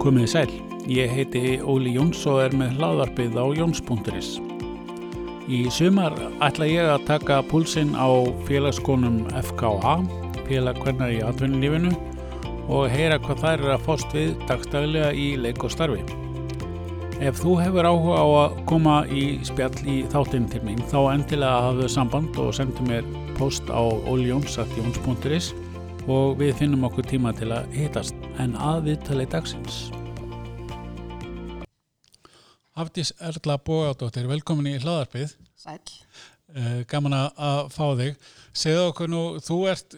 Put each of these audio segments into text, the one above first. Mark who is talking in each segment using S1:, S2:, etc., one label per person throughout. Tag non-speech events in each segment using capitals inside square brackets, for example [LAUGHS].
S1: Komið í sæl, ég heiti Óli Jóns og er með hlaðarpið á Jóns.is. Í sumar ætla ég að taka púlsinn á félagskonum FKH, félag hvernar í atvinnulífinu og heyra hvað þær eru að fást við dagstaglega í leik og starfi. Ef þú hefur áhuga á að koma í spjall í þáttinn til mín þá endilega hafðu samband og sendu mér post á oljóns.jóns.is og við finnum okkur tíma til að hitast en að viðtali dagsins. Hafdís Erla Bógadóttir, velkomin í hlaðarpið.
S2: Sæll.
S1: Eh, Gaman að- að fá þig. Segðu okkur nú, þú ert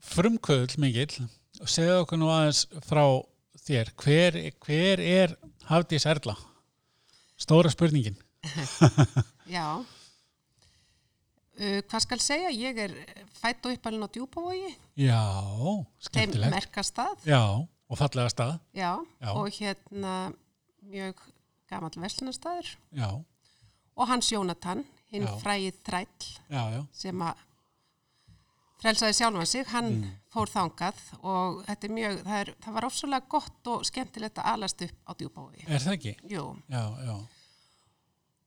S1: frumkvöðl mikill. Segðu okkur nú aðeins frá þér. Hver, hver er Hafdís Erla? Stóra spurningin.
S2: Já. Uh, hvað skal segja? Ég er fætt og uppalinn á djúpavogi,
S1: Já,
S2: þeim
S1: skemmtilegt.
S2: merkastað,
S1: Já, og fallega stað.
S2: já,
S1: Já.
S2: og hérna mjög gamall verslunarstaður
S1: Já,
S2: og hans Jónatan, hinn
S1: Já.
S2: fræðið þræll
S1: já, já.
S2: sem að frelsaði sjálfan sig, hann
S1: Mm.
S2: fór þangað og þetta er mjög, það, er, það var ofsvölega gott og skemmtilegt að alast upp á djúpavogi.
S1: Er það ekki?
S2: Jú,
S1: Já, já.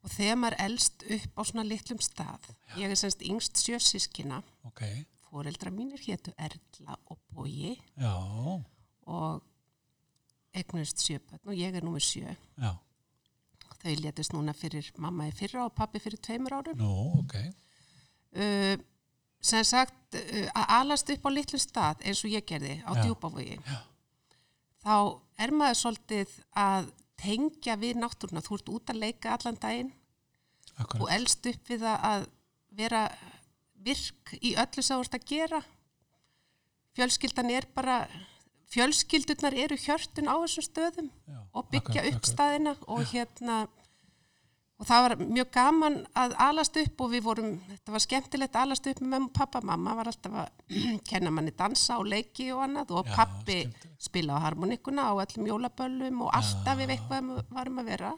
S2: og þegar maður elst upp á svona litlum stað, ég er semst yngst sjösískina,
S1: Ok.
S2: fóreldra mínir hétu Erla og Bói
S1: Já,
S2: og eignust sjöpöld og ég er númer sjö.
S1: já.
S2: Þau létust núna fyrir mamma í fyrra og pappi fyrir tveimur árum.
S1: Nú, ok.
S2: Uh, sem sagt, uh, að alast upp á litlum stað eins og ég gerði á
S1: Já.
S2: djúpavogi, þá er maður svolítið að tengja við náttúruna. Þú ert út að leika allan daginn
S1: Akkurat.
S2: og elst upp við að- að vera virk í öllu sem þú ert að gera fjölskyldan er bara fjölskyldurnar eru hjörtun á þessum stöðum
S1: Já,
S2: og byggja
S1: akkurat,
S2: upp
S1: akkurat.
S2: staðina og hérna og það var mjög gaman að alast upp og við vorum, þetta var skemmtilegt að alast upp með mamma og pappa, mamma var alltaf að [CLEARS THROAT] kenna manni dansa og leiki og annað og
S1: Já,
S2: pappi
S1: skemmtilegt.
S2: spila á harmonikuna á öllum jólaböllum og alltaf ef eitthvað um- varum að vera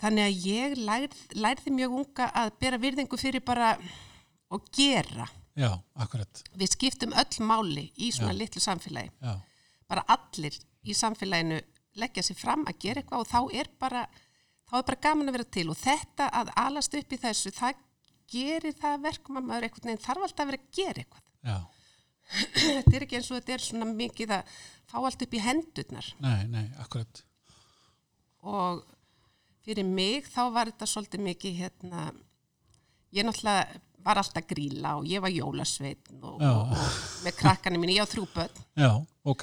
S2: þannig að ég lærð, lærði mjög unga að bera virðingu fyrir bara og gera
S1: Já, akkurat.
S2: við skiptum öll máli í svona litlu samfélagi
S1: Já,
S2: bara allir í samfélaginu leggja sér fram að gera eitthvað og þá er bara þá er bara gaman að vera til og þetta að alast upp í þessu það gerir það að verkum að maður einhvern veginn þarf alltaf að vera að gera eitthvað [CLEARS THROAT]
S1: já.
S2: þetta er ekki eins og þetta er svona mikið að fá allt upp í hendurnar
S1: Nei, nei, akkurat.
S2: og fyrir mig þá var þetta svolítið mikið hérna ég náttúrulega var alltaf að gríla og ég var jólasveitn og,
S1: Já.
S2: og, og með krakkanum mín, ég á þrjú börn
S1: Já, ok.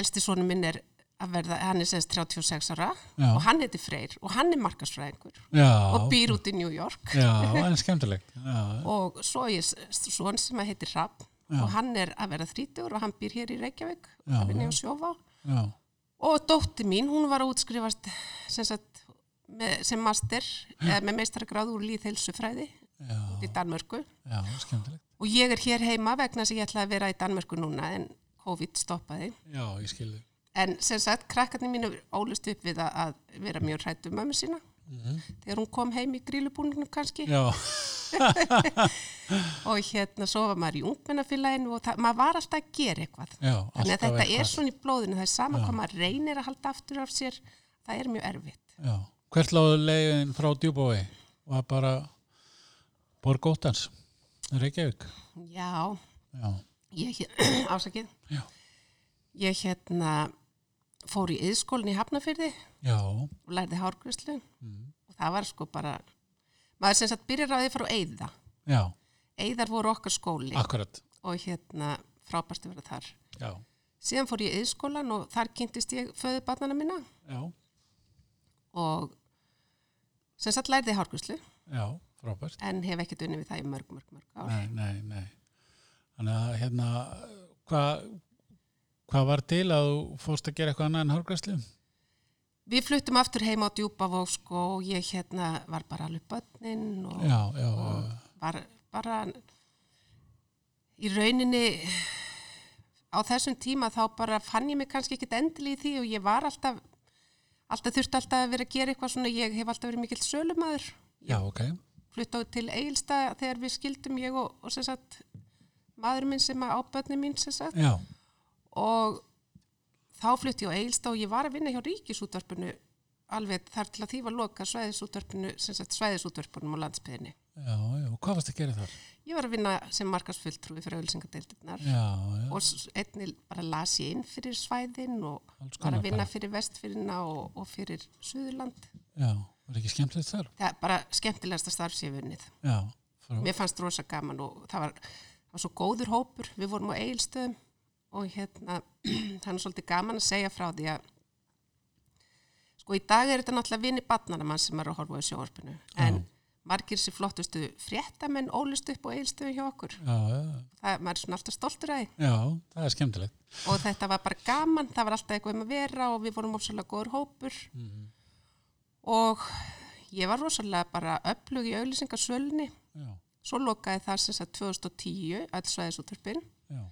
S2: elsti sonum minn er að verða, hann er semst 36 ára
S1: Já.
S2: og hann heiti Freyr og hann er markasfræðingur
S1: Já,
S2: og býr út í New York
S1: já, en skemmtilegt. Já,
S2: og svo er s- son sem að heitir Rapp og hann er að verða 30 og hann býr hér í Reykjavík
S1: Já,
S2: að vinna í að sjófa
S1: já,
S2: og dótti mín, hún var að útskrifast sem, sagt, með, sem master eða með meistaragráð úr líðheilsufræði
S1: já,
S2: út í Danmörku
S1: já, skemmtilegt.
S2: og ég er hér heima vegna sem ég ætla að vera í Danmörku núna en COVID stoppaði
S1: Já, ég skil þig.
S2: En sem sagt, krakkarnir mínu ólust upp við að- að vera mjög hrætt um mömmu sína. Þegar hún kom heim í grílubúningnum kannski
S1: Mhm. Já,
S2: og hérna svo var maður í ungmennafélaginu og það- maður var alltaf að gera eitthvað.
S1: já,
S2: Þannig að
S1: alltaf
S2: þetta er
S1: eitthvað.
S2: svona í blóðinu, það er sama hvað maður reynir að halda aftur af sér, það er mjög erfitt.
S1: Já, hvert láðu leiðin frá Djúbói? Var bara Borg Óttans, Reykjavík.
S2: Já,
S1: Já,
S2: ég, [CLEARS THROAT] ásakið,
S1: já,
S2: ég hérna fór í yðskólinni í Hafnafyrði
S1: já,
S2: og lærði hárgrislu
S1: Mhm.
S2: og það var sko bara, maður sem sagt byrjar á því að fara á Eyða.
S1: já,
S2: Eyðar voru okkar skóli.
S1: akkurat.
S2: og hérna frábært að vera þar.
S1: Já,
S2: Síðan fór ég í yðskólan og þar kynntist ég föðu barnana minna
S1: já,
S2: og sem sagt lærði hárguslu
S1: já, frábært.
S2: en hef ekkert unni við það í mörg, mörg, mörg ár.
S1: Nei, nei, nei. Þannig að hérna, hvað hva var til að þú fórst að gera eitthvað annað en hálfgræslu?
S2: Við fluttum aftur heima á djúpavósk og ég hérna var bara alveg börnin og
S1: Já, já, já.
S2: var bara í rauninni á þessum tíma þá bara fann ég mig kannski ekkit endilega í því og ég var alltaf, alltaf þurfti alltaf að vera að gera eitthvað svona, ég hef alltaf verið mikill sölumæður.
S1: Já, ok.
S2: flutt á til Egilstað þegar við skildum ég og, og sem sagt, maður minn sem að ábötni mín sem sagt
S1: Já,
S2: og þá flutti ég á Eilsta og ég var að vinna hjá ríkisútvarpinu alveg þar til að því var loka svæðisútvarpinu, sem sagt svæðisútvarpunum á landsbyðinni.
S1: já, já, og hvað varst að gera þar?
S2: Ég var að vinna sem markarsfulltrúi fyrir auðlýsingadeildirnar
S1: Já, já,
S2: og s- einnig bara las ég inn fyrir svæðin og
S1: Alls
S2: var
S1: konar
S2: að vinna
S1: bara.
S2: fyrir vestfyrirna og, og fyrir Suðurland.
S1: já, var ekki skemmtilegt þar?
S2: Það er bara skemmtilegasta starfsífunnið.
S1: Já, frá,
S2: Mér fannst rosa gaman og það var, það var svo góður hópur. Við vorum á eigilstöðum og hérna, [CLEARS THROAT] það er svolítið gaman að segja frá því að sko í dag er þetta náttúrulega vini barnana mann sem er að horfa á sjóarpinu en margir sér flottustu fréttamenn ólist upp á eigilstöðum hjá okkur.
S1: já, já,
S2: Það, maður er svona alltaf stoltur að því
S1: já, það er skemmtilegt.
S2: og þetta var bara gaman, það var alltaf eitthvað um að vera og við vorum ósvöldlega góður hópur og ég var rosalega bara upplug í auðlýsingasölunni
S1: Já,
S2: svo lokaði það sem sagt 2010 all svæðisúttarpin
S1: já,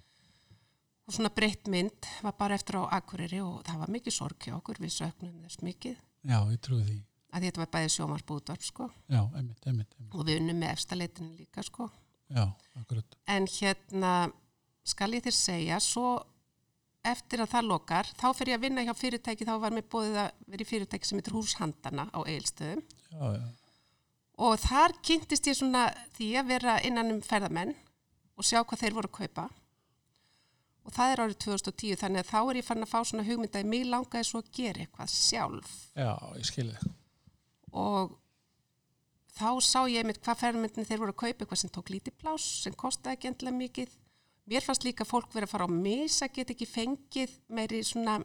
S2: og svona breytt mynd var bara eftir á Akureyri og það var mikið sorg hjá okkur, við söknum þess mikið
S1: já, ég trúi því.
S2: að þetta var bæði sjómarsbúðvarp sko
S1: Já, einmitt, einmitt, einmitt.
S2: og við unnum með efstaleitinu líka sko
S1: Já, akkurat.
S2: en hérna skal ég þér segja svo eftir að það lokar þá fer ég að vinna hjá fyrirtæki þá var mér bóðið að vera í fyrirtæki sem heitir Húshandana á Egilstöðum
S1: Já, já,
S2: og þar kynntist ég svona því að vera innan um ferðamenn og sjá hvað þeir voru að kaupa og það er árið 2010 þannig að þá er ég fann að fá svona hugmynda að mig langaði svo að gera eitthvað sjálf
S1: já, ég skil þig.
S2: og þá sá ég einmitt hvað ferðmyndin þeir voru að kaupa eitthvað sem tók lítið pláss, sem kostaði ekki endilega mikið. Mér fannst líka fólk verið að fara á mis að geta ekki fengið meiri svona,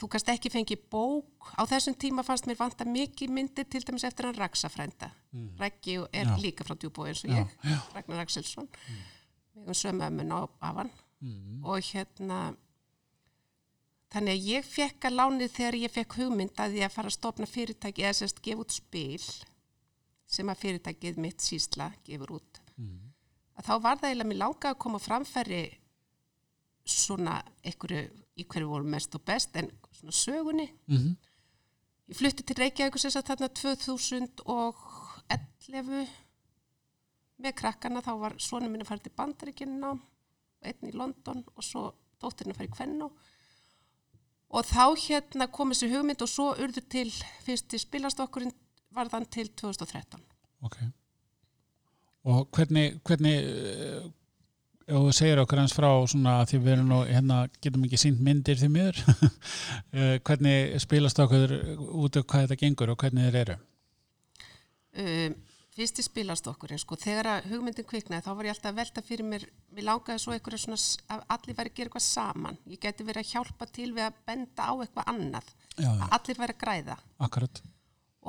S2: þú kannst ekki fengið bók. Á þessum tíma fannst mér vanta mikið myndir til dæmis eftir hann Raksafrænda. Mm. Raggi er
S1: Já.
S2: líka frá djúbói eins og
S1: Já,
S2: ég, Ragnar Rakselsson. Við um sömu ömmun á afan
S1: Mm,
S2: og hérna þannig að ég fekk að lánið þegar ég fekk hugmynd að ég að fara að stopna fyrirtæki eða sérst gefa út spil sem að fyrirtækið mitt sísla gefur út
S1: mm,
S2: að þá var það eiginlega mér langað að koma á framfæri svona einhverju í hverju voru mest og best en svona sögunni
S1: mm,
S2: ég flutti til Reykjavík sem sagt þarna 2011 með krakkana þá var sonum minn að fara til Bandaríkinu einn í London og svo dóttirinn að fara í Kvennó og þá hérna kom þessi hugmynd og svo urðu til fyrsti spilastokkurinn var þann til 2013
S1: ok. Og hvernig, hvernig, eh, ef þú segir okkur eins frá svona að því við erum nú, hérna, getum ekki sínt myndir því miður, [LAUGHS] Eh, hvernig spilast okkur út af hvað þetta gengur og hvernig þeir eru?
S2: um, fyrsti spilastokkurinn sko, þegar að hugmyndin kviknaði þá var ég alltaf að velta fyrir mér mér langaði svo einhverja svona s- að allir væri að gera eitthvað saman ég geti verið að hjálpa til við að benda á eitthvað annað
S1: Já, já,
S2: að allir væri að græða
S1: akkurat.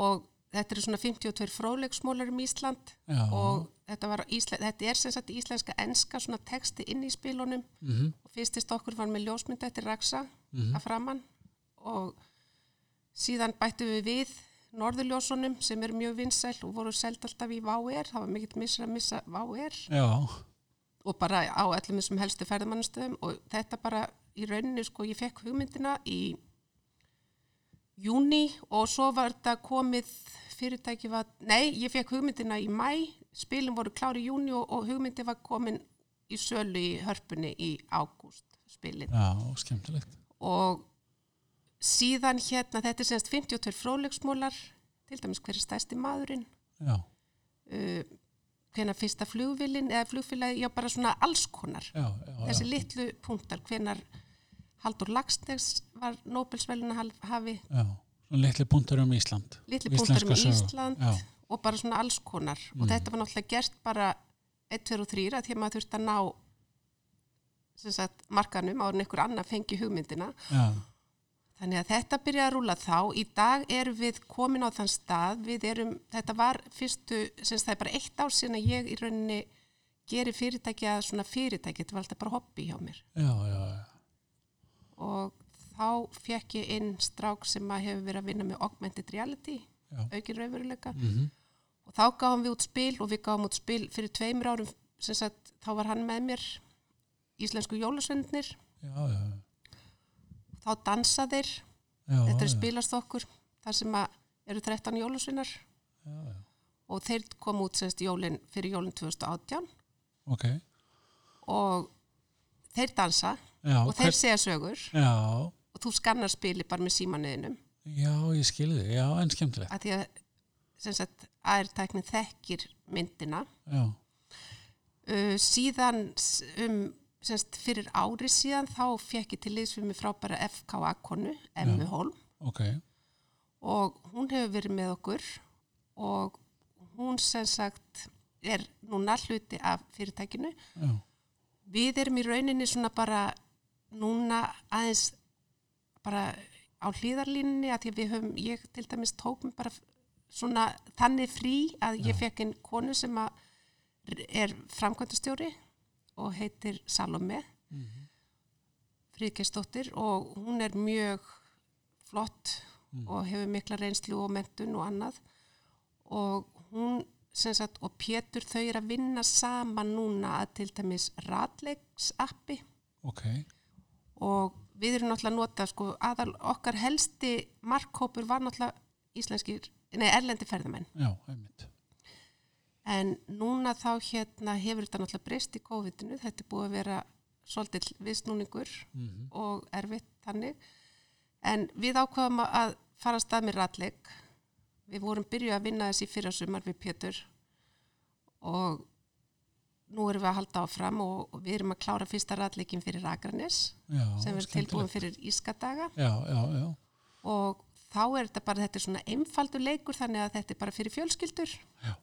S2: og þetta eru svona 52 fróðleiksmólar um Ísland
S1: Já,
S2: og þetta, var Ísla, þetta er sem sagt íslenska enska svona texti inn í spilunum
S1: Mhm.
S2: og fyrstist okkur var með ljósmynd eftir Raksa að framann og síðan bættu við við norðurljósunum sem er mjög vinsæl og voru seld alltaf í VR, það var mikill missur að missa VR
S1: já,
S2: og bara á öllum þessum helstu ferðamannastöðum og þetta bara í rauninu sko ég fekk hugmyndina í júni og svo var þetta komið fyrirtæki var, nei ég fekk hugmyndina í mæ, spilin voru klári í júni og, og hugmyndi var komin í sölu í hörpunni í ágúst spilin
S1: já, skemmtilegt.
S2: og síðan hérna þetta er semst 52 fróðleiksmólar til dæmis hver er stærsti maðurinn
S1: Já,
S2: uh, hvenar fyrsta flugvillin eða flugfélagi, já bara svona alls konar
S1: já, já, já,
S2: þessi litlu punktar hvenar Haldur Lagstegs var Nobelsveluna hafi
S1: já. Svona litli punktar um Ísland.
S2: litlu
S1: og
S2: punktar um
S1: íslenska sögu.
S2: Ísland
S1: Já, Mm.
S2: og bara svona alls konar og þetta var náttúrulega gert bara 1, 2 og 3 að því að maður þurfti að ná sem sagt markanum áður en einhver annar fengi hugmyndina
S1: já,
S2: Þannig að þetta byrjaði að rúla þá. Í dag erum við komin á þann stað. Við erum, þetta var fyrstu, sem sagt, það er bara eitt ár síðan að ég í rauninni geri fyrirtæki að svona fyrirtæki. Þetta var alltaf bara hobby hjá mér.
S1: já, já, já.
S2: Og þá fekk ég inn strák sem að hefur verið að vinna með augmented reality,
S1: Já.
S2: aukin raunveruleika.
S1: Mhm.
S2: Og þá gáðum við út spil og við gáðum út spil fyrir tveimur árum, sem sagt, þá var hann með mér, íslensku jólasöndnir.
S1: Já, já,
S2: Þá dansa þeir,
S1: já, já,
S2: þetta er spilast okkur, þar sem að eru 13 jólasvinnar.
S1: já, já.
S2: og þeir kom út semst jólin, fyrir jólin 2018
S1: Ok,
S2: og þeir dansa
S1: já,
S2: og þeir segja sögur
S1: já,
S2: og þú skannar spili bara með símanuðinum
S1: já, ég skilði þig, já, en skemmtilegt.
S2: að því að sem sagt AR-tæknin þekkir myndina
S1: Já,
S2: uh, síðan s- um sem sagt fyrir ári síðan þá fekk ég til liðsfið mig frábæra FKA-konu Emmu Holm
S1: ok,
S2: og hún hefur verið með okkur og hún sem sagt er núna hluti af fyrirtækinu
S1: já,
S2: við erum í rauninni svona bara núna aðeins bara á hlýðarlínni að því að við höfum, ég til dæmis tók mig bara svona þannig frí að ég fekk einn konu sem að er framkvæmdastjóri og heitir Salome mm og hún er mjög flott og hefur mikla reynslu og mentun og annað og hún sem sagt, og Pétur þau er að vinna saman núna að til dæmis ratleiks appi
S1: ok,
S2: og við erum náttúrulega að nota sko, aðal okkar helsti markkópur var náttúrulega íslenskir, nei, erlendi ferðamenn
S1: já, einmitt.
S2: en núna þá hérna hefur þetta náttúrulega breyst í COVID-inu þetta er búið að vera svolítill viðsnúningur og erfitt þannig en við ákvaðum að fara að stað með ratleik við vorum byrjuð að vinna þessi fyrra sumar við Pétur og nú erum við að halda áfram og og við erum að klára fyrsta ratleikin fyrir Akranes
S1: Já,
S2: sem verður
S1: skemmtilegt.
S2: tilbúin fyrir Ískadaga
S1: Já, já, já,
S2: og þá er þetta bara, þetta er svona einfaldur leikur þannig að þetta er bara fyrir fjölskyldur
S1: já,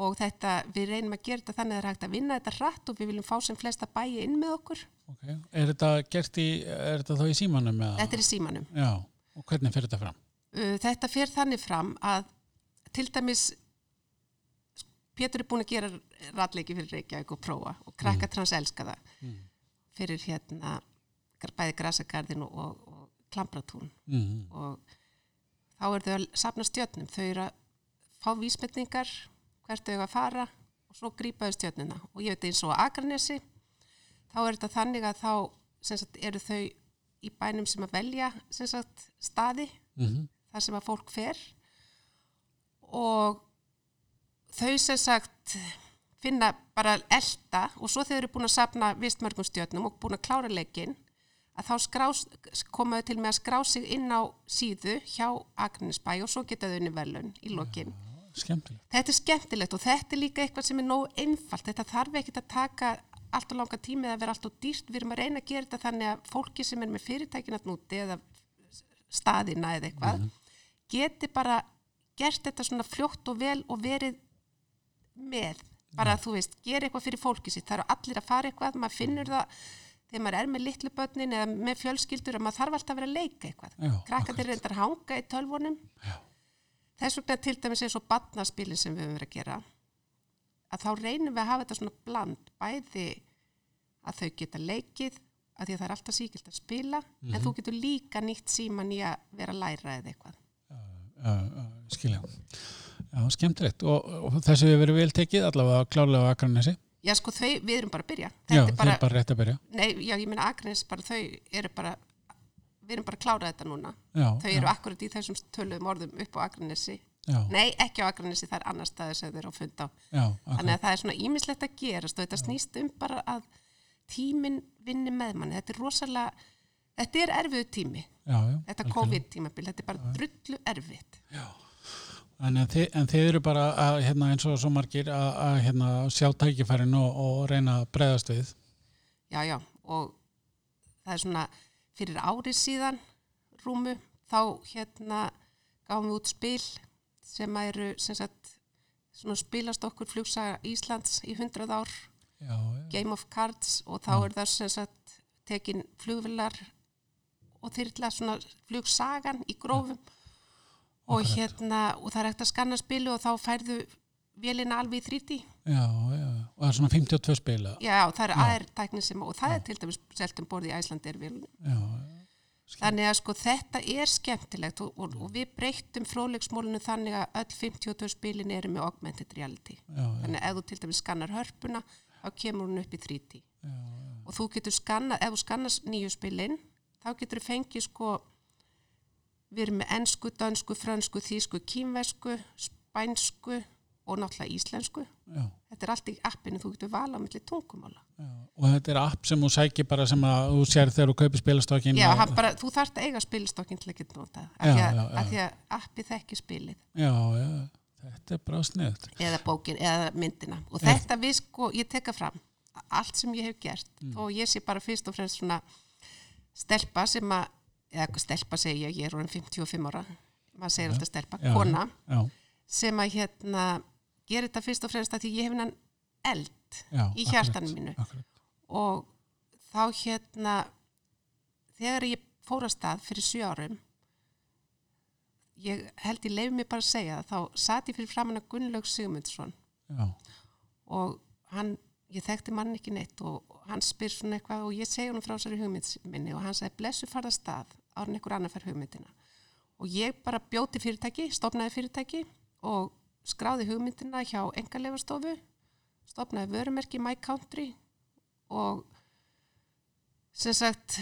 S2: og þetta, við reynum að gera þetta þannig að það er hægt að vinna þetta hratt og við viljum fá sem flesta bæi inn með okkur.
S1: ok. Er þetta gert í, er þetta þá í símanum eða?
S2: Þetta er í símanum.
S1: Já, og hvernig fer þetta fram?
S2: Uh, Þetta fer þannig fram að til dæmis Pétur er búin að gera ratleiki fyrir Reykjavík og prófa og krakka trans elska það fyrir hérna gr- bæði grasagarðin og, og, og klambratún.
S1: Mm,
S2: og þá eru þau að safna stjörnum, þau eru að fá vísmyndingar, hvert þau eiga að fara og svo grípaðu stjörnina og ég veit eins og á Akranesi þá er þetta þannig að þá sem sagt, eru þau í bænum sem að velja sem sagt, staði
S1: mm,
S2: þar sem að fólk fer og þau sem sagt finna bara elda og svo þau eru búin að safna vist mörgum stjörnum og búin að klára leikin að þá skrás, komaðu til með að skrá sig inn á síðu hjá Agnesbæ og svo geta þau unni velun í lokin.
S1: skemmtilegt.
S2: Þetta er skemmtilegt og þetta er líka eitthvað sem er nógu einfalt. Þetta þarf ekkert að taka allt og langa tími eða vera allt og dýrt. Við erum að reyna að gera þetta þannig að fólki sem er með fyrirtækin að núti eða staðina eða eitthvað
S1: Mhm.
S2: geti bara gert þetta svona fljótt og vel og verið með. Bara að þú veist, gera eitthvað fyrir fólki sitt. Það eru allir að fara eitthvað, maður finnur
S1: Mhm.
S2: það þegar maður er með litlu börnin eða með fjölskyldur að maður þarf alltaf að vera að leika
S1: Já,
S2: eitthvað.
S1: akkurat.
S2: Krakkandir reyndar hanga í tölvunum
S1: Já,
S2: Þess vegna til dæmis eins og batnaspilin sem við höfum verið að gera, að þá reynum við að hafa þetta svona bland, bæði að þau geta leikið, að því að það er alltaf síkilt að spila,
S1: Mhm.
S2: en þú getur líka nýtt síman í að vera að læra eða eitthvað.
S1: já, já, skilja. Já, skemmtilegt. Og, og þessu hefur verið vel tekið, allavega klálega á Akranesi.
S2: Já, sko, þau, við erum bara að byrja.
S1: Já,
S2: Þetta er
S1: þeir
S2: bara,
S1: er bara rétt að byrja.
S2: nei, já, ég meina Akranes, bara þau eru bara, við erum bara að klára þetta núna.
S1: Já,
S2: Þau
S1: já,
S2: eru akkurat í þessum töluðum orðum upp á Akranesi.
S1: já,
S2: Nei, ekki á Akranesi, það er annar staður sem þeir eru að funda á.
S1: já, akkurat.
S2: þannig að það er svona ímislegt að gerast og þetta snýst um bara að tíminn vinni með manni, þetta er rosalega þetta er erfiðu tími
S1: já, já,
S2: þetta
S1: algjörlega.
S2: COVID tímabil, þetta er bara drullu erfitt
S1: Þannig að þið, en þið eru bara að, hérna, eins og svo margir að, að hérna, sjá tækifærin og, og reyna að breyðast við.
S2: já, já, og það er svona fyrir ári síðan rúmu, þá hérna gáum við út spil sem að eru, sem sagt svona spilast okkur flugsaga Íslands í 100 ár,
S1: Já, já,
S2: Game of Cards og þá er það sem sagt tekin flugvilar og þyrla svona flugsagan í grófum og
S1: Akkurat.
S2: hérna og það er hægt að skanna spilu og þá færðu vélina alveg í 3D
S1: já, já. Og það er svona 52 spila.
S2: já og það er AR tækni sem og það er til dæmis selt um borði í Æslandi er vélina
S1: Já,
S2: þannig að sko þetta er skemmtilegt og, og, og við breyttum fróðleiksmólinu þannig að öll 52 spilin eru með augmented reality
S1: já, já,
S2: þannig að ef þú til dæmis skannar hörpuna þá kemur hún upp í 3D
S1: já, já.
S2: og þú getur skannað, ef þú skannast nýju spilin, þá getur þú fengið sko, við erum með ensku, dansku, fransku, þýsku, kínvesku, spænsku og náttúrulega íslensku.
S1: já.
S2: Þetta þetta er allt í appinu, þú getur vala á milli tungumála.
S1: Og þetta er app sem þú sækir bara sem að þú sér þegar þú kaupir spilastokkin.
S2: Já, hann bara, þú þarft að eiga spilstokkin til að geta nota, af
S1: Já,
S2: því að,
S1: já, já.
S2: af því að appi þekki spilið
S1: já, já, þetta er bara sniðt.
S2: eða bókin eða myndina. Og þetta við sko, ég teka fram, allt sem ég hef gert
S1: Mm.
S2: og ég sé bara fyrst og fremst svona stelpa sem að, eða stelpa segi ég, ég er orðin 55 ára, maður segir alltaf stelpa,
S1: Já,
S2: kona.
S1: Já,
S2: sem að hérna gera þetta fyrst og fremst að því ég hef hennan eld
S1: já.
S2: í
S1: akkurat,
S2: hjartanu mínu
S1: Akkurat.
S2: og þá hérna þegar ég fór að stað fyrir sjö árum ég held ég leif mér bara að segja það þá sat ég fyrir framann að Gunnlaug Sigmundsson
S1: Já,
S2: og hann, ég þekkti mann ekki neitt og hann spyr svona eitthvað og ég segi hann frá þessari hugmynd minni og hann sagði blessu farða stað árun einhver annar fær hugmyndina og ég bara bjóti fyrirtæki, stopnaði fyrirtæki og skráði hugmyndina hjá engarleifastofu stopnaði vörumerki My Country og sem sagt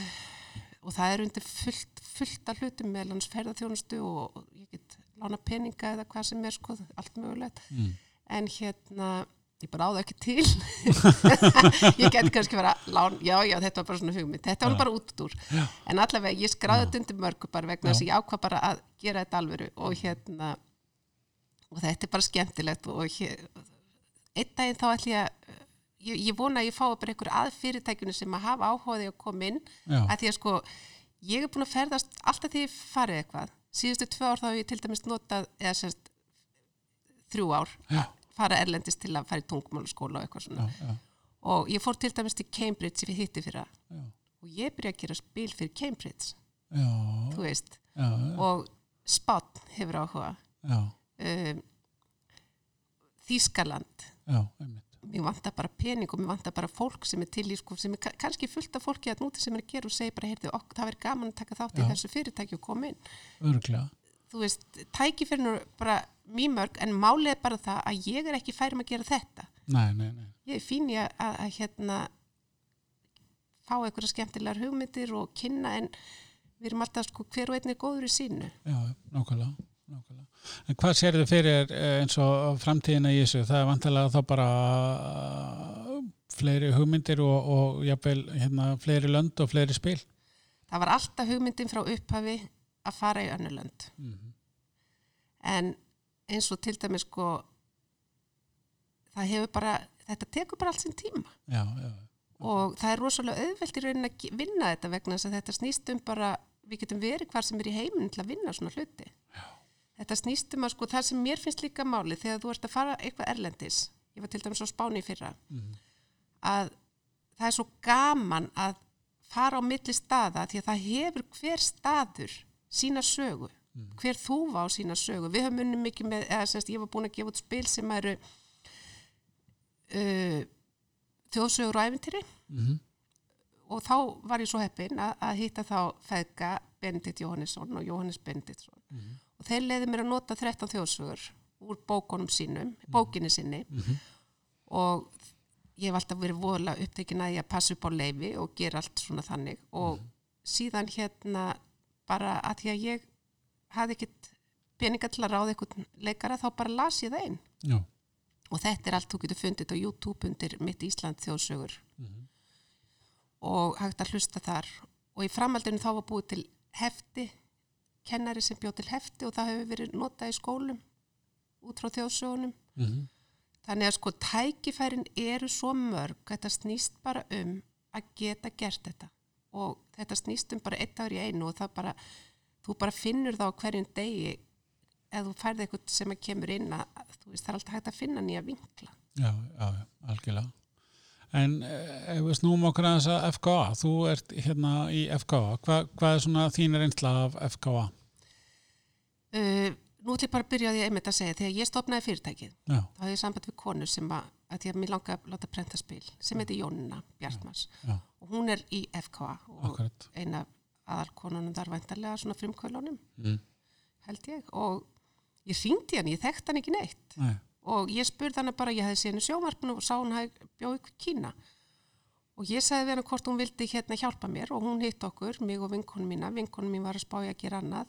S2: og það er undir fullt, fullt af hlutum með lands ferðarþjónustu og og ég get lána peninga eða hvað sem er sko, allt mögulegt
S1: Mm.
S2: en hérna ég bara áða ekki til [LAUGHS] ég geti kannski verið að lána já já þetta var bara svona hugmynd, þetta var bara út úr
S1: Já.
S2: en allavega ég skráði þetta undir mörgu bara vegna þess að ég ákvað bara að gera þetta alvöru og hérna og þetta er bara skemmtilegt og hér, einn daginn þá ætlum ég að ég, ég vona að ég fái bara einhver að fyrirtækjunum sem að hafa áhugaði að koma inn
S1: já,
S2: að því að sko, ég er búin að ferðast alltaf því ég farið eitthvað síðustu tvö ár þá hef ég til dæmis notað eða sérst þrjú ár
S1: já,
S2: fara erlendist til að fara í tungmálaskóla og eitthvað svona
S1: já, já,
S2: og ég fór til dæmis til Cambridge sem ég hitti fyrir það
S1: já,
S2: og ég byrja að gera spil fyrir Cambridge
S1: já,
S2: þú veist,
S1: já,
S2: og Spott hefur áhuga
S1: já,
S2: um, Þískaland
S1: já, einmitt.
S2: mér vantar bara pening og mér vantar bara fólk sem er til í sko, sem er ka- kannski fullt af fólki að núti sem er að gera og segja bara, heyrðu, ok, það verður gaman að taka þátt í
S1: Já.
S2: þessu fyrirtæki og koma inn
S1: Örglega.
S2: þú veist, tækifyrin eru bara mjög mörg en málið er bara það að ég er ekki færum að gera þetta
S1: Nei, nei, nei.
S2: ég er fín í að, að, að hérna fá einhverja skemmtilegar hugmyndir og kynna en við erum alltaf sko hver og einn er góður í sínu
S1: Já, nákvæmlega. nákvæmlega. En hvað sérðu fyrir eh, eins og framtíðina í þessu? Það er vantilega þá bara eh, fleiri hugmyndir og, og jafnvel, hérna, fleiri lönd og fleiri spil.
S2: það var alltaf hugmyndin frá upphafi að fara í önnulönd
S1: Mm
S2: en eins og til dæmis sko það hefur bara þetta tekur bara allt sinn tíma
S1: Já, já,
S2: og það er rosalega auðvelt í raunin að ge- vinna þetta vegna þess að þetta snýst um bara við getum verið hvar sem er í heiminn til að vinna svona hluti Já. þetta snýst um að sko það sem mér finnst líka máli þegar þú ert að fara eitthvað erlendis ég var til dæmis á Spáni í fyrra
S1: Mhm.
S2: að það er svo gaman að fara á milli staða því að það hefur hver staður sína sögu hver þúfa á sína sögu við höfum unnum mikið með, eða semst ég var búin að gefa út spil sem eru uh, þjóðsögur og æfintýri
S1: mm -hmm.
S2: og þá var ég svo heppin að, að hitta þá feðga Benedikt Jóhannesson og Jóhannes Benediktsson og þeir leiði mér að nota 13 þjóðsögur úr bókunum sínum, bókinni sinni og ég hef alltaf verið voðalega upptekin að ég að passa upp á leifi og gera allt svona þannig og síðan hérna bara að því að ég hafði ekkit peninga til að ráða eitthvað leikara þá bara las ég það inn
S1: já,
S2: og þetta er allt þú getur fundið á YouTube undir mitt Ísland þjóðsögur
S1: Mhm.
S2: og hægt að hlusta þar og í framhaldinu þá var búið til hefti kennari sem bjóð til hefti og það hefur verið notað í skólum út frá þjóðsögunum
S1: mm
S2: þannig að sko tækifærin eru svo mörg þetta snýst bara um að geta gert þetta og þetta snýst um bara eitt dagur í einu og það bara, þú bara finnur það á hverjum degi eða þú færði eitthvað sem að kemur inn að þú veist það er alltaf hægt að finna nýja vinkla
S1: já, já, já, algjörlega. En eh, ef við snúum okkur aðeins að FKA, þú ert hérna í FKA, Hva, hvað er svona þín reynsla af FKA?
S2: uh, nú ætlum ég bara að byrja á því að einmitt að segja þegar ég stopnaði fyrirtækið
S1: Já,
S2: þá hafði ég samband við konu sem að, að því að mér langaði að láta prenta spil sem heiti Jónina Bjartmars
S1: já,
S2: og hún er í FKA og
S1: akkurat.
S2: eina aðal konunum þar væntarlega svona frumkvölunum
S1: Mm.
S2: held ég og ég hringdi hann, ég þekkt hann ekki neitt
S1: Nei,
S2: og ég spurði hann bara, ég hefði séð henni sjómarkun og sá hún hafði bjóð ykkur kína og ég sagði við hann hvort hún vildi hérna hjálpa mér og hún hitt okkur, mig og vinkonum mína vinkonum mín var að spája að gera annað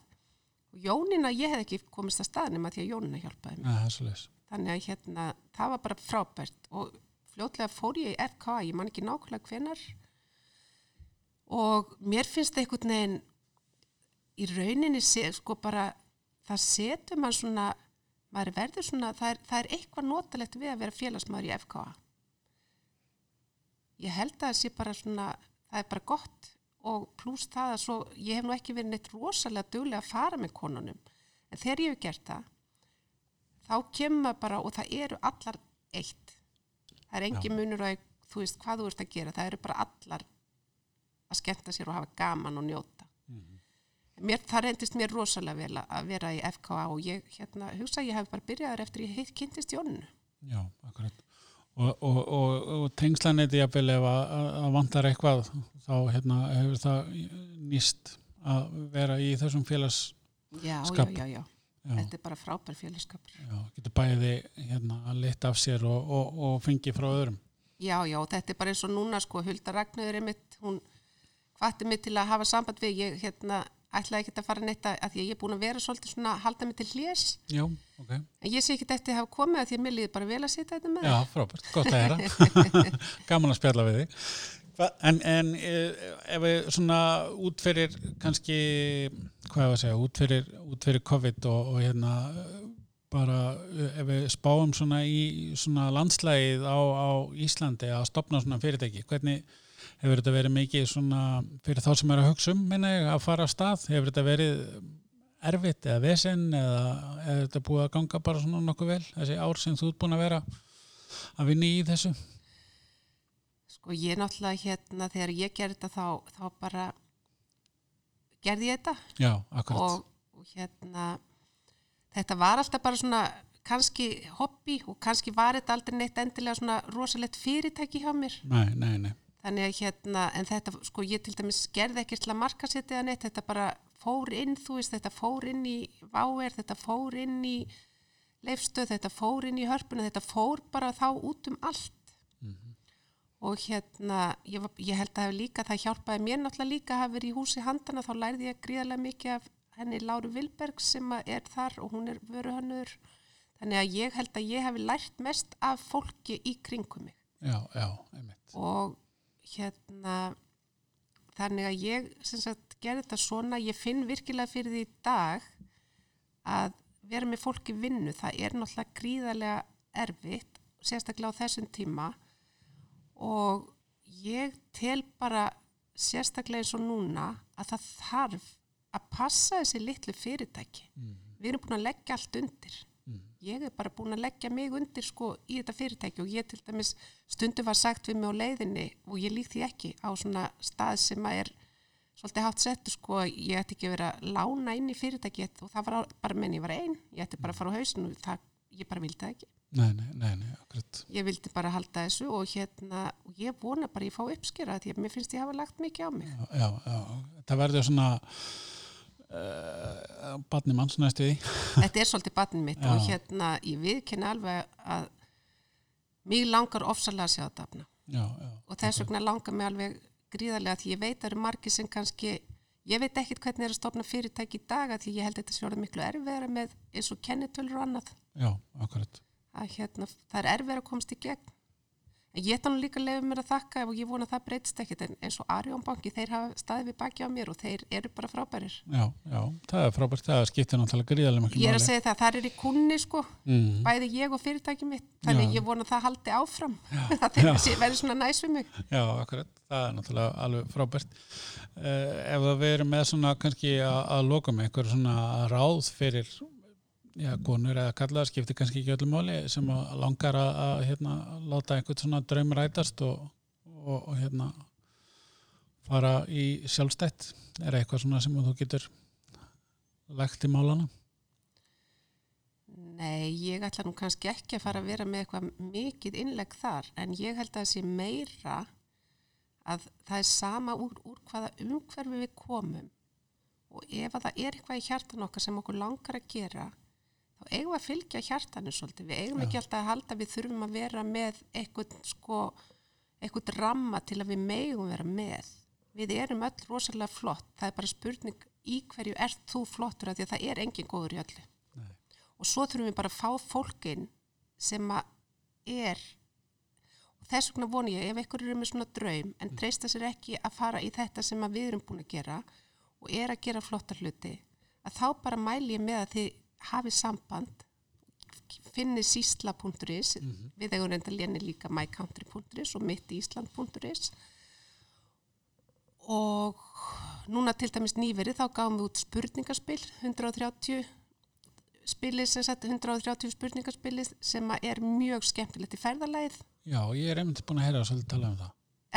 S2: og Jónina, ég hef ekki komist að staðnum að því að Jónina hjálpaði mér
S1: Nei, það er svo
S2: Þannig að hérna, það var bara frábært og fljótlega fór ég í FK, ég man ekki nákvæmlega hvenar og mér finnst það einhvern veginn í rauninni, se, sko bara, það setur mann svona, maður verður svona, það er, það er eitthvað notalegt við að vera félagsmaður í FK. Ég held að það sé bara svona, það er bara gott og pluss það að svo, ég hef nú ekki verið neitt rosalega duglega að fara með konunum, en þegar ég hef gert það, þá kemur maður bara og það eru allar eitt. Það er engin munur að þú veist hvað þú ert að gera, það eru bara allar að skemmta sér og hafa gaman og njóta. mér, það reyndist mér rosalega vel að- að vera í FKA og ég hérna, hugsa að ég hef bara byrjaður eftir ég hitt- kynntist Jóninu.
S1: Já, akkurat. Og, og, og, og tengslaneti jafnvel ef að, að- að vantar eitthvað þá hérna, hefur það nýst að vera í þessum félags
S2: Já,
S1: Skap.
S2: já, já, já.
S1: Já.
S2: Þetta er bara frábær félagskapur.
S1: já, getur bæði hérna, að leta af sér og, og, og fengi frá öðrum.
S2: Já, já, þetta er bara eins og núna sko, Hulda Ragnöður er mitt, hún hvatti mig til að hafa samband við, ég hérna ætlaði ekki að fara neitt að, að því að ég er búin að vera svolítið svona, halda mig til hlés,
S1: Já, ok.
S2: en ég sé ekki eftir að hafa komið að því að mér líði bara vel að sitja þetta með.
S1: Já, frábært, gott að hera. Gaman að spjalla við þig. Hva- En, en eh, ef við svona útferir kannski, hvað hefur að segja, útferir, útferir COVID og, og hérna eh, bara eh, ef við spáum svona í svona landslægið á, á Íslandi að stopna svona fyrirtæki, hvernig hefur þetta verið mikið svona fyrir þá sem er að hugsa um, minna ég, að fara af stað, hefur þetta verið erfitt eða vesinn eða hefur þetta búið að ganga bara svona nokkuð vel, þessi ár sem þú ert búin að vera að vinni í þessu
S2: Sko ég náttúrulega hérna þegar ég gerði þetta þá, þá bara gerði ég þetta
S1: já, akkurat
S2: og, og hérna þetta var alltaf bara svona kannski hobby og kannski var þetta aldrei neitt endilega svona rosalegt fyrirtæki hjá mér.
S1: nei, nei, nei,
S2: Þannig að hérna, en þetta, sko ég til dæmis gerði ekki til að markasetja eða neitt, þetta bara fór inn, þú veist, þetta fór inn í Váer, þetta fór inn í leifstöð, þetta fór inn í hörpuna, þetta fór bara þá út um allt. Og hérna, ég, var, ég held að hafa líka, það hjálpaði mér náttúrulega líka að hafa verið í húsi handana, þá lærði ég gríðarlega mikið af henni Láru Vilberg sem að er þar og hún er vöruhönnur. Þannig að ég held að ég hafi lært mest af fólki í kringum mig
S1: já, já, einmitt
S2: og hérna þannig að ég sem sagt gerði þetta svona, ég finn virkilega fyrir því í dag að vera með fólki vinnu, það er náttúrulega gríðarlega erfitt sérstaklega á þessum tíma og ég tel bara sérstaklega eins og núna að það þarf að passa þessi litlu fyrirtæki við erum búin að leggja allt undir ég er bara búin að leggja mig undir sko í þetta fyrirtæki og ég til dæmis stundu var sagt við mig á leiðinni og ég lík því ekki á svona stað sem að er svolítið hátt settu sko ég ætti ekki að vera að lána inn í fyrirtæki og það var á- bara menn ég var ein ég ætti bara að fara á hausinu það, ég bara vildi það ekki
S1: nei, nei, nei, nei, akkurat
S2: ég vildi bara halda þessu og hérna og ég vona bara að ég fá uppskera því að mér finnst ég hafa lagt mikið á mig
S1: já, já, já. það verður svona uh, barni manns næstu því
S2: þetta er svolítið batnið mitt
S1: Já.
S2: og hérna ég viðkenni alveg að mig langar ofsalega að sjá þetta afna
S1: já, já,
S2: og þess vegna langar mig alveg gríðarlega því ég veit að eru margir sem kannski ég veit ekkit hvernig er að stofna fyrirtæki í dag af því ég held að þetta sé orðið miklu erfiðara með eins og kennitölur og annað
S1: já, akkurat
S2: að hérna, það er erfiðara að komast í gegn en ég þannig líka leiði mér að þakka og ég vona að það breytist ekkit en eins og Arjón banki, þeir hafa staðið við baki á mér og þeir eru bara frábærir
S1: já, já, það er frábært, það skiptir náttúrulega gríðarlega miklu
S2: ég er að
S1: máli.
S2: segja það, það er í kunni sko
S1: Mhm.
S2: bæði ég og fyrirtæki mitt þannig
S1: Já.
S2: ég vona að það haldi áfram [LAUGHS] að þeir sé- verði svona næs við mig
S1: Já, akkurat, það er náttúrulega alveg frábært. Uh, ef að við erum með svona kannski að, að loka með einhver svona ráð fyrir já, konur eða kallaðar skiptir kannski ekki öllu máli sem að langar að, að hérna, láta einhvern svona draum rætast og, og, og hérna fara í sjálfstætt. Er eitthvað svona sem þú getur lagt í málana?
S2: Nei, ég ætla nú kannski ekki að fara að vera með eitthvað mikið innlegg þar en ég held að það sé meira að það er sama úr, úr hvaða umhverfi við komum og ef að það er eitthvað í hjartan okkar sem okkur langar að gera þá eigum við að fylgja hjartanu svolítið við eigum ekki alltaf að halda að við þurfum að vera með eitthvað sko eitthvað ramma til að við megum vera með við erum öll rosalega flott það er bara spurning í hverju ert þú flottur af því að það er engin góður í öllu og svo þurfum við bara að fá fólkin sem að er og þess vegna voni ég ef einhverjur eru með svona draum en treysta sér ekki að fara í þetta sem að við erum búin að gera og er að gera flotta hluti að þá bara mæli ég með að þið hafi samband finni sísla.is við eigum reynda léni líka mycountry.is og mittisland.is og núna til dæmis nýverið þá gáum við út spurningaspil 130 spilið sem sett 130 spurningaspilið sem að er mjög skemmtilegt í ferðalæð
S1: Já, ég er einmitt búin að heyra svolítið tala um það.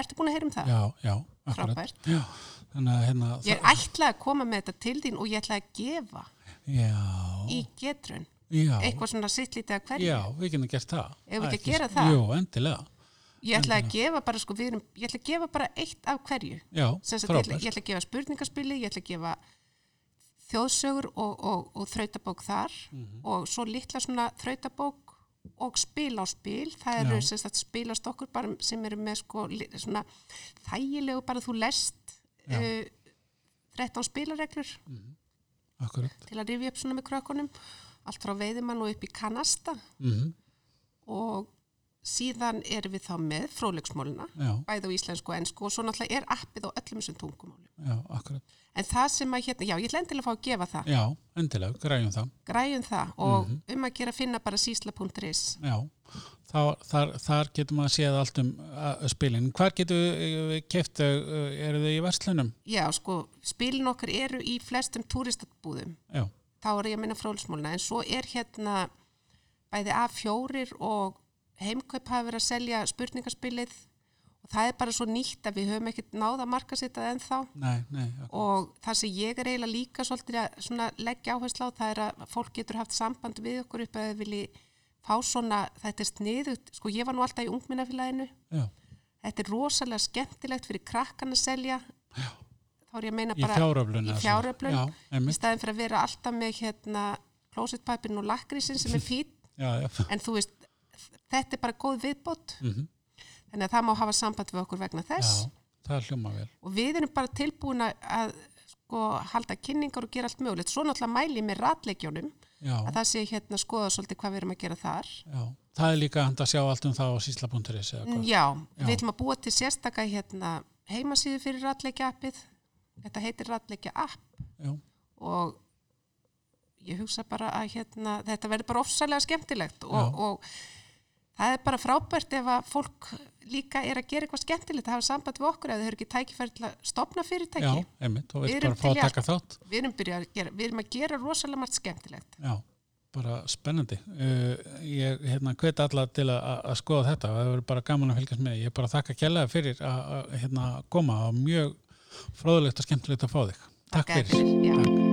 S2: Ertu búin að heyra um það?
S1: Já, já, akkurat.
S2: Frábært.
S1: Já, þannig að hérna...
S2: Ég er ætlaði að koma með þetta til þín og ég ætlaði að gefa
S1: Já,
S2: í getrun
S1: já,
S2: eitthvað svona sittlítið að hverju.
S1: já, við getum gert það.
S2: Eigum við ekki að
S1: Ætli-
S2: gera það?
S1: Jú, endilega.
S2: Ég ætlaði að gefa bara sko, við erum, ég ætlaði að gefa bara eitt af hverju.
S1: Já,
S2: Sem sagt, ég ætla,
S1: frábært.
S2: ég ætla að gefa spurningaspili, ég ætla að gefa þjóðsögur og, og, og þrautabók þar
S1: Mhm.
S2: og svo litla svona þrautabók og spil á spil, það eru
S1: Já.
S2: sem sagt spilast okkur bara sem eru með sko li- svona þægilegu bara þú lest
S1: Já.
S2: uh, 13 spilareglur
S1: Akkurat.
S2: til að rifja upp svona með krökkunum allt frá veiðimann og upp í kanasta
S1: Mm
S2: og síðan erum við þá með fróðleiksmóluna
S1: Já,
S2: bæði á íslensku og ennsku og svo náttúrulega er appið á öllum þessum tungumálum.
S1: já, akkurat.
S2: En það sem að hérna, já, ég ætla endilega að fá að gefa það,
S1: Já, endilega, græjum það.
S2: græjum það og um að gera að finna bara sísla.is.
S1: Já, Þá, þar, þar getum að séð allt um uh, spilin. Hvar getum við keft, eru þau í verslunum?
S2: Já, sko, spilin okkar eru í flestum túristatbúðum,
S1: Já,
S2: þá er ég að minna fróðleiksmóluna, en svo er hérna bæði A4 og heimkaup hafa verið að selja spurningaspilið og það er bara svo nýtt að við höfum ekkert náð að marka sitt að ennþá.
S1: nei, nei, ak-
S2: og það sem ég er eiginlega líka svolítið að svona leggja áherslu á það er að fólk getur haft samband við okkur upp að þau vilji fá svona, þetta er sniðugt, sko ég var nú alltaf í ungminnafélaginu,
S1: já.
S2: þetta er rosalega skemmtilegt fyrir krakkan að selja,
S1: Já.
S2: þá er ég að meina
S1: Í
S2: bara
S1: fjáröflun.
S2: í fjáröflun,
S1: Já,
S2: í
S1: einmitt.
S2: staðin fyrir að vera alltaf með hérna klósitpapirinn og lakrísin sem er fýtt,
S1: Já, já.
S2: en þú veist, þetta er bara góð viðbót,
S1: Mm
S2: þannig að það má hafa samband við okkur vegna
S1: já,
S2: þess.
S1: það hljóma vel.
S2: og við erum bara tilbúin að- að sko, halda kynningar og gera allt mögulegt svo náttúrulega mæli ég með ratleikjónum
S1: Já,
S2: að það sé hérna skoða svolítið hvað við erum að gera þar
S1: já. Það er líka hægt að sjá allt um það á sísla.is eða hvað.
S2: já,
S1: Já.
S2: við ætlum að búa til sérstaka hérna, heimasíðu fyrir ratleikja appið þetta heitir ratleikja app
S1: Já,
S2: og ég hugsa bara að hérna, þetta verður bara ofsalega skemmtilegt og, og það er bara frábært ef að fólk líka er að gera eitthvað skemmtilegt að hafa samband við okkur eða þau eru ekki tækifæri til að stopna fyrirtæki
S1: já, einmitt. Og
S2: Við
S1: við
S2: erum
S1: bara fá
S2: til
S1: að
S2: í
S1: taka þátt.
S2: við erum, byrjað að gera, við erum að gera rosalega margt skemmtilegt.
S1: Já, bara spennandi. Uh, ég hérna, hvet alla til að, að- að skoða þetta. Það verður bara gaman að fylgjast með. Ég er bara að þakka kjærlega fyrir að, að hérna, koma og mjög fróðulegt og skemmtilegt að fá þig. Takk fyrir.
S2: Já.
S1: Takk.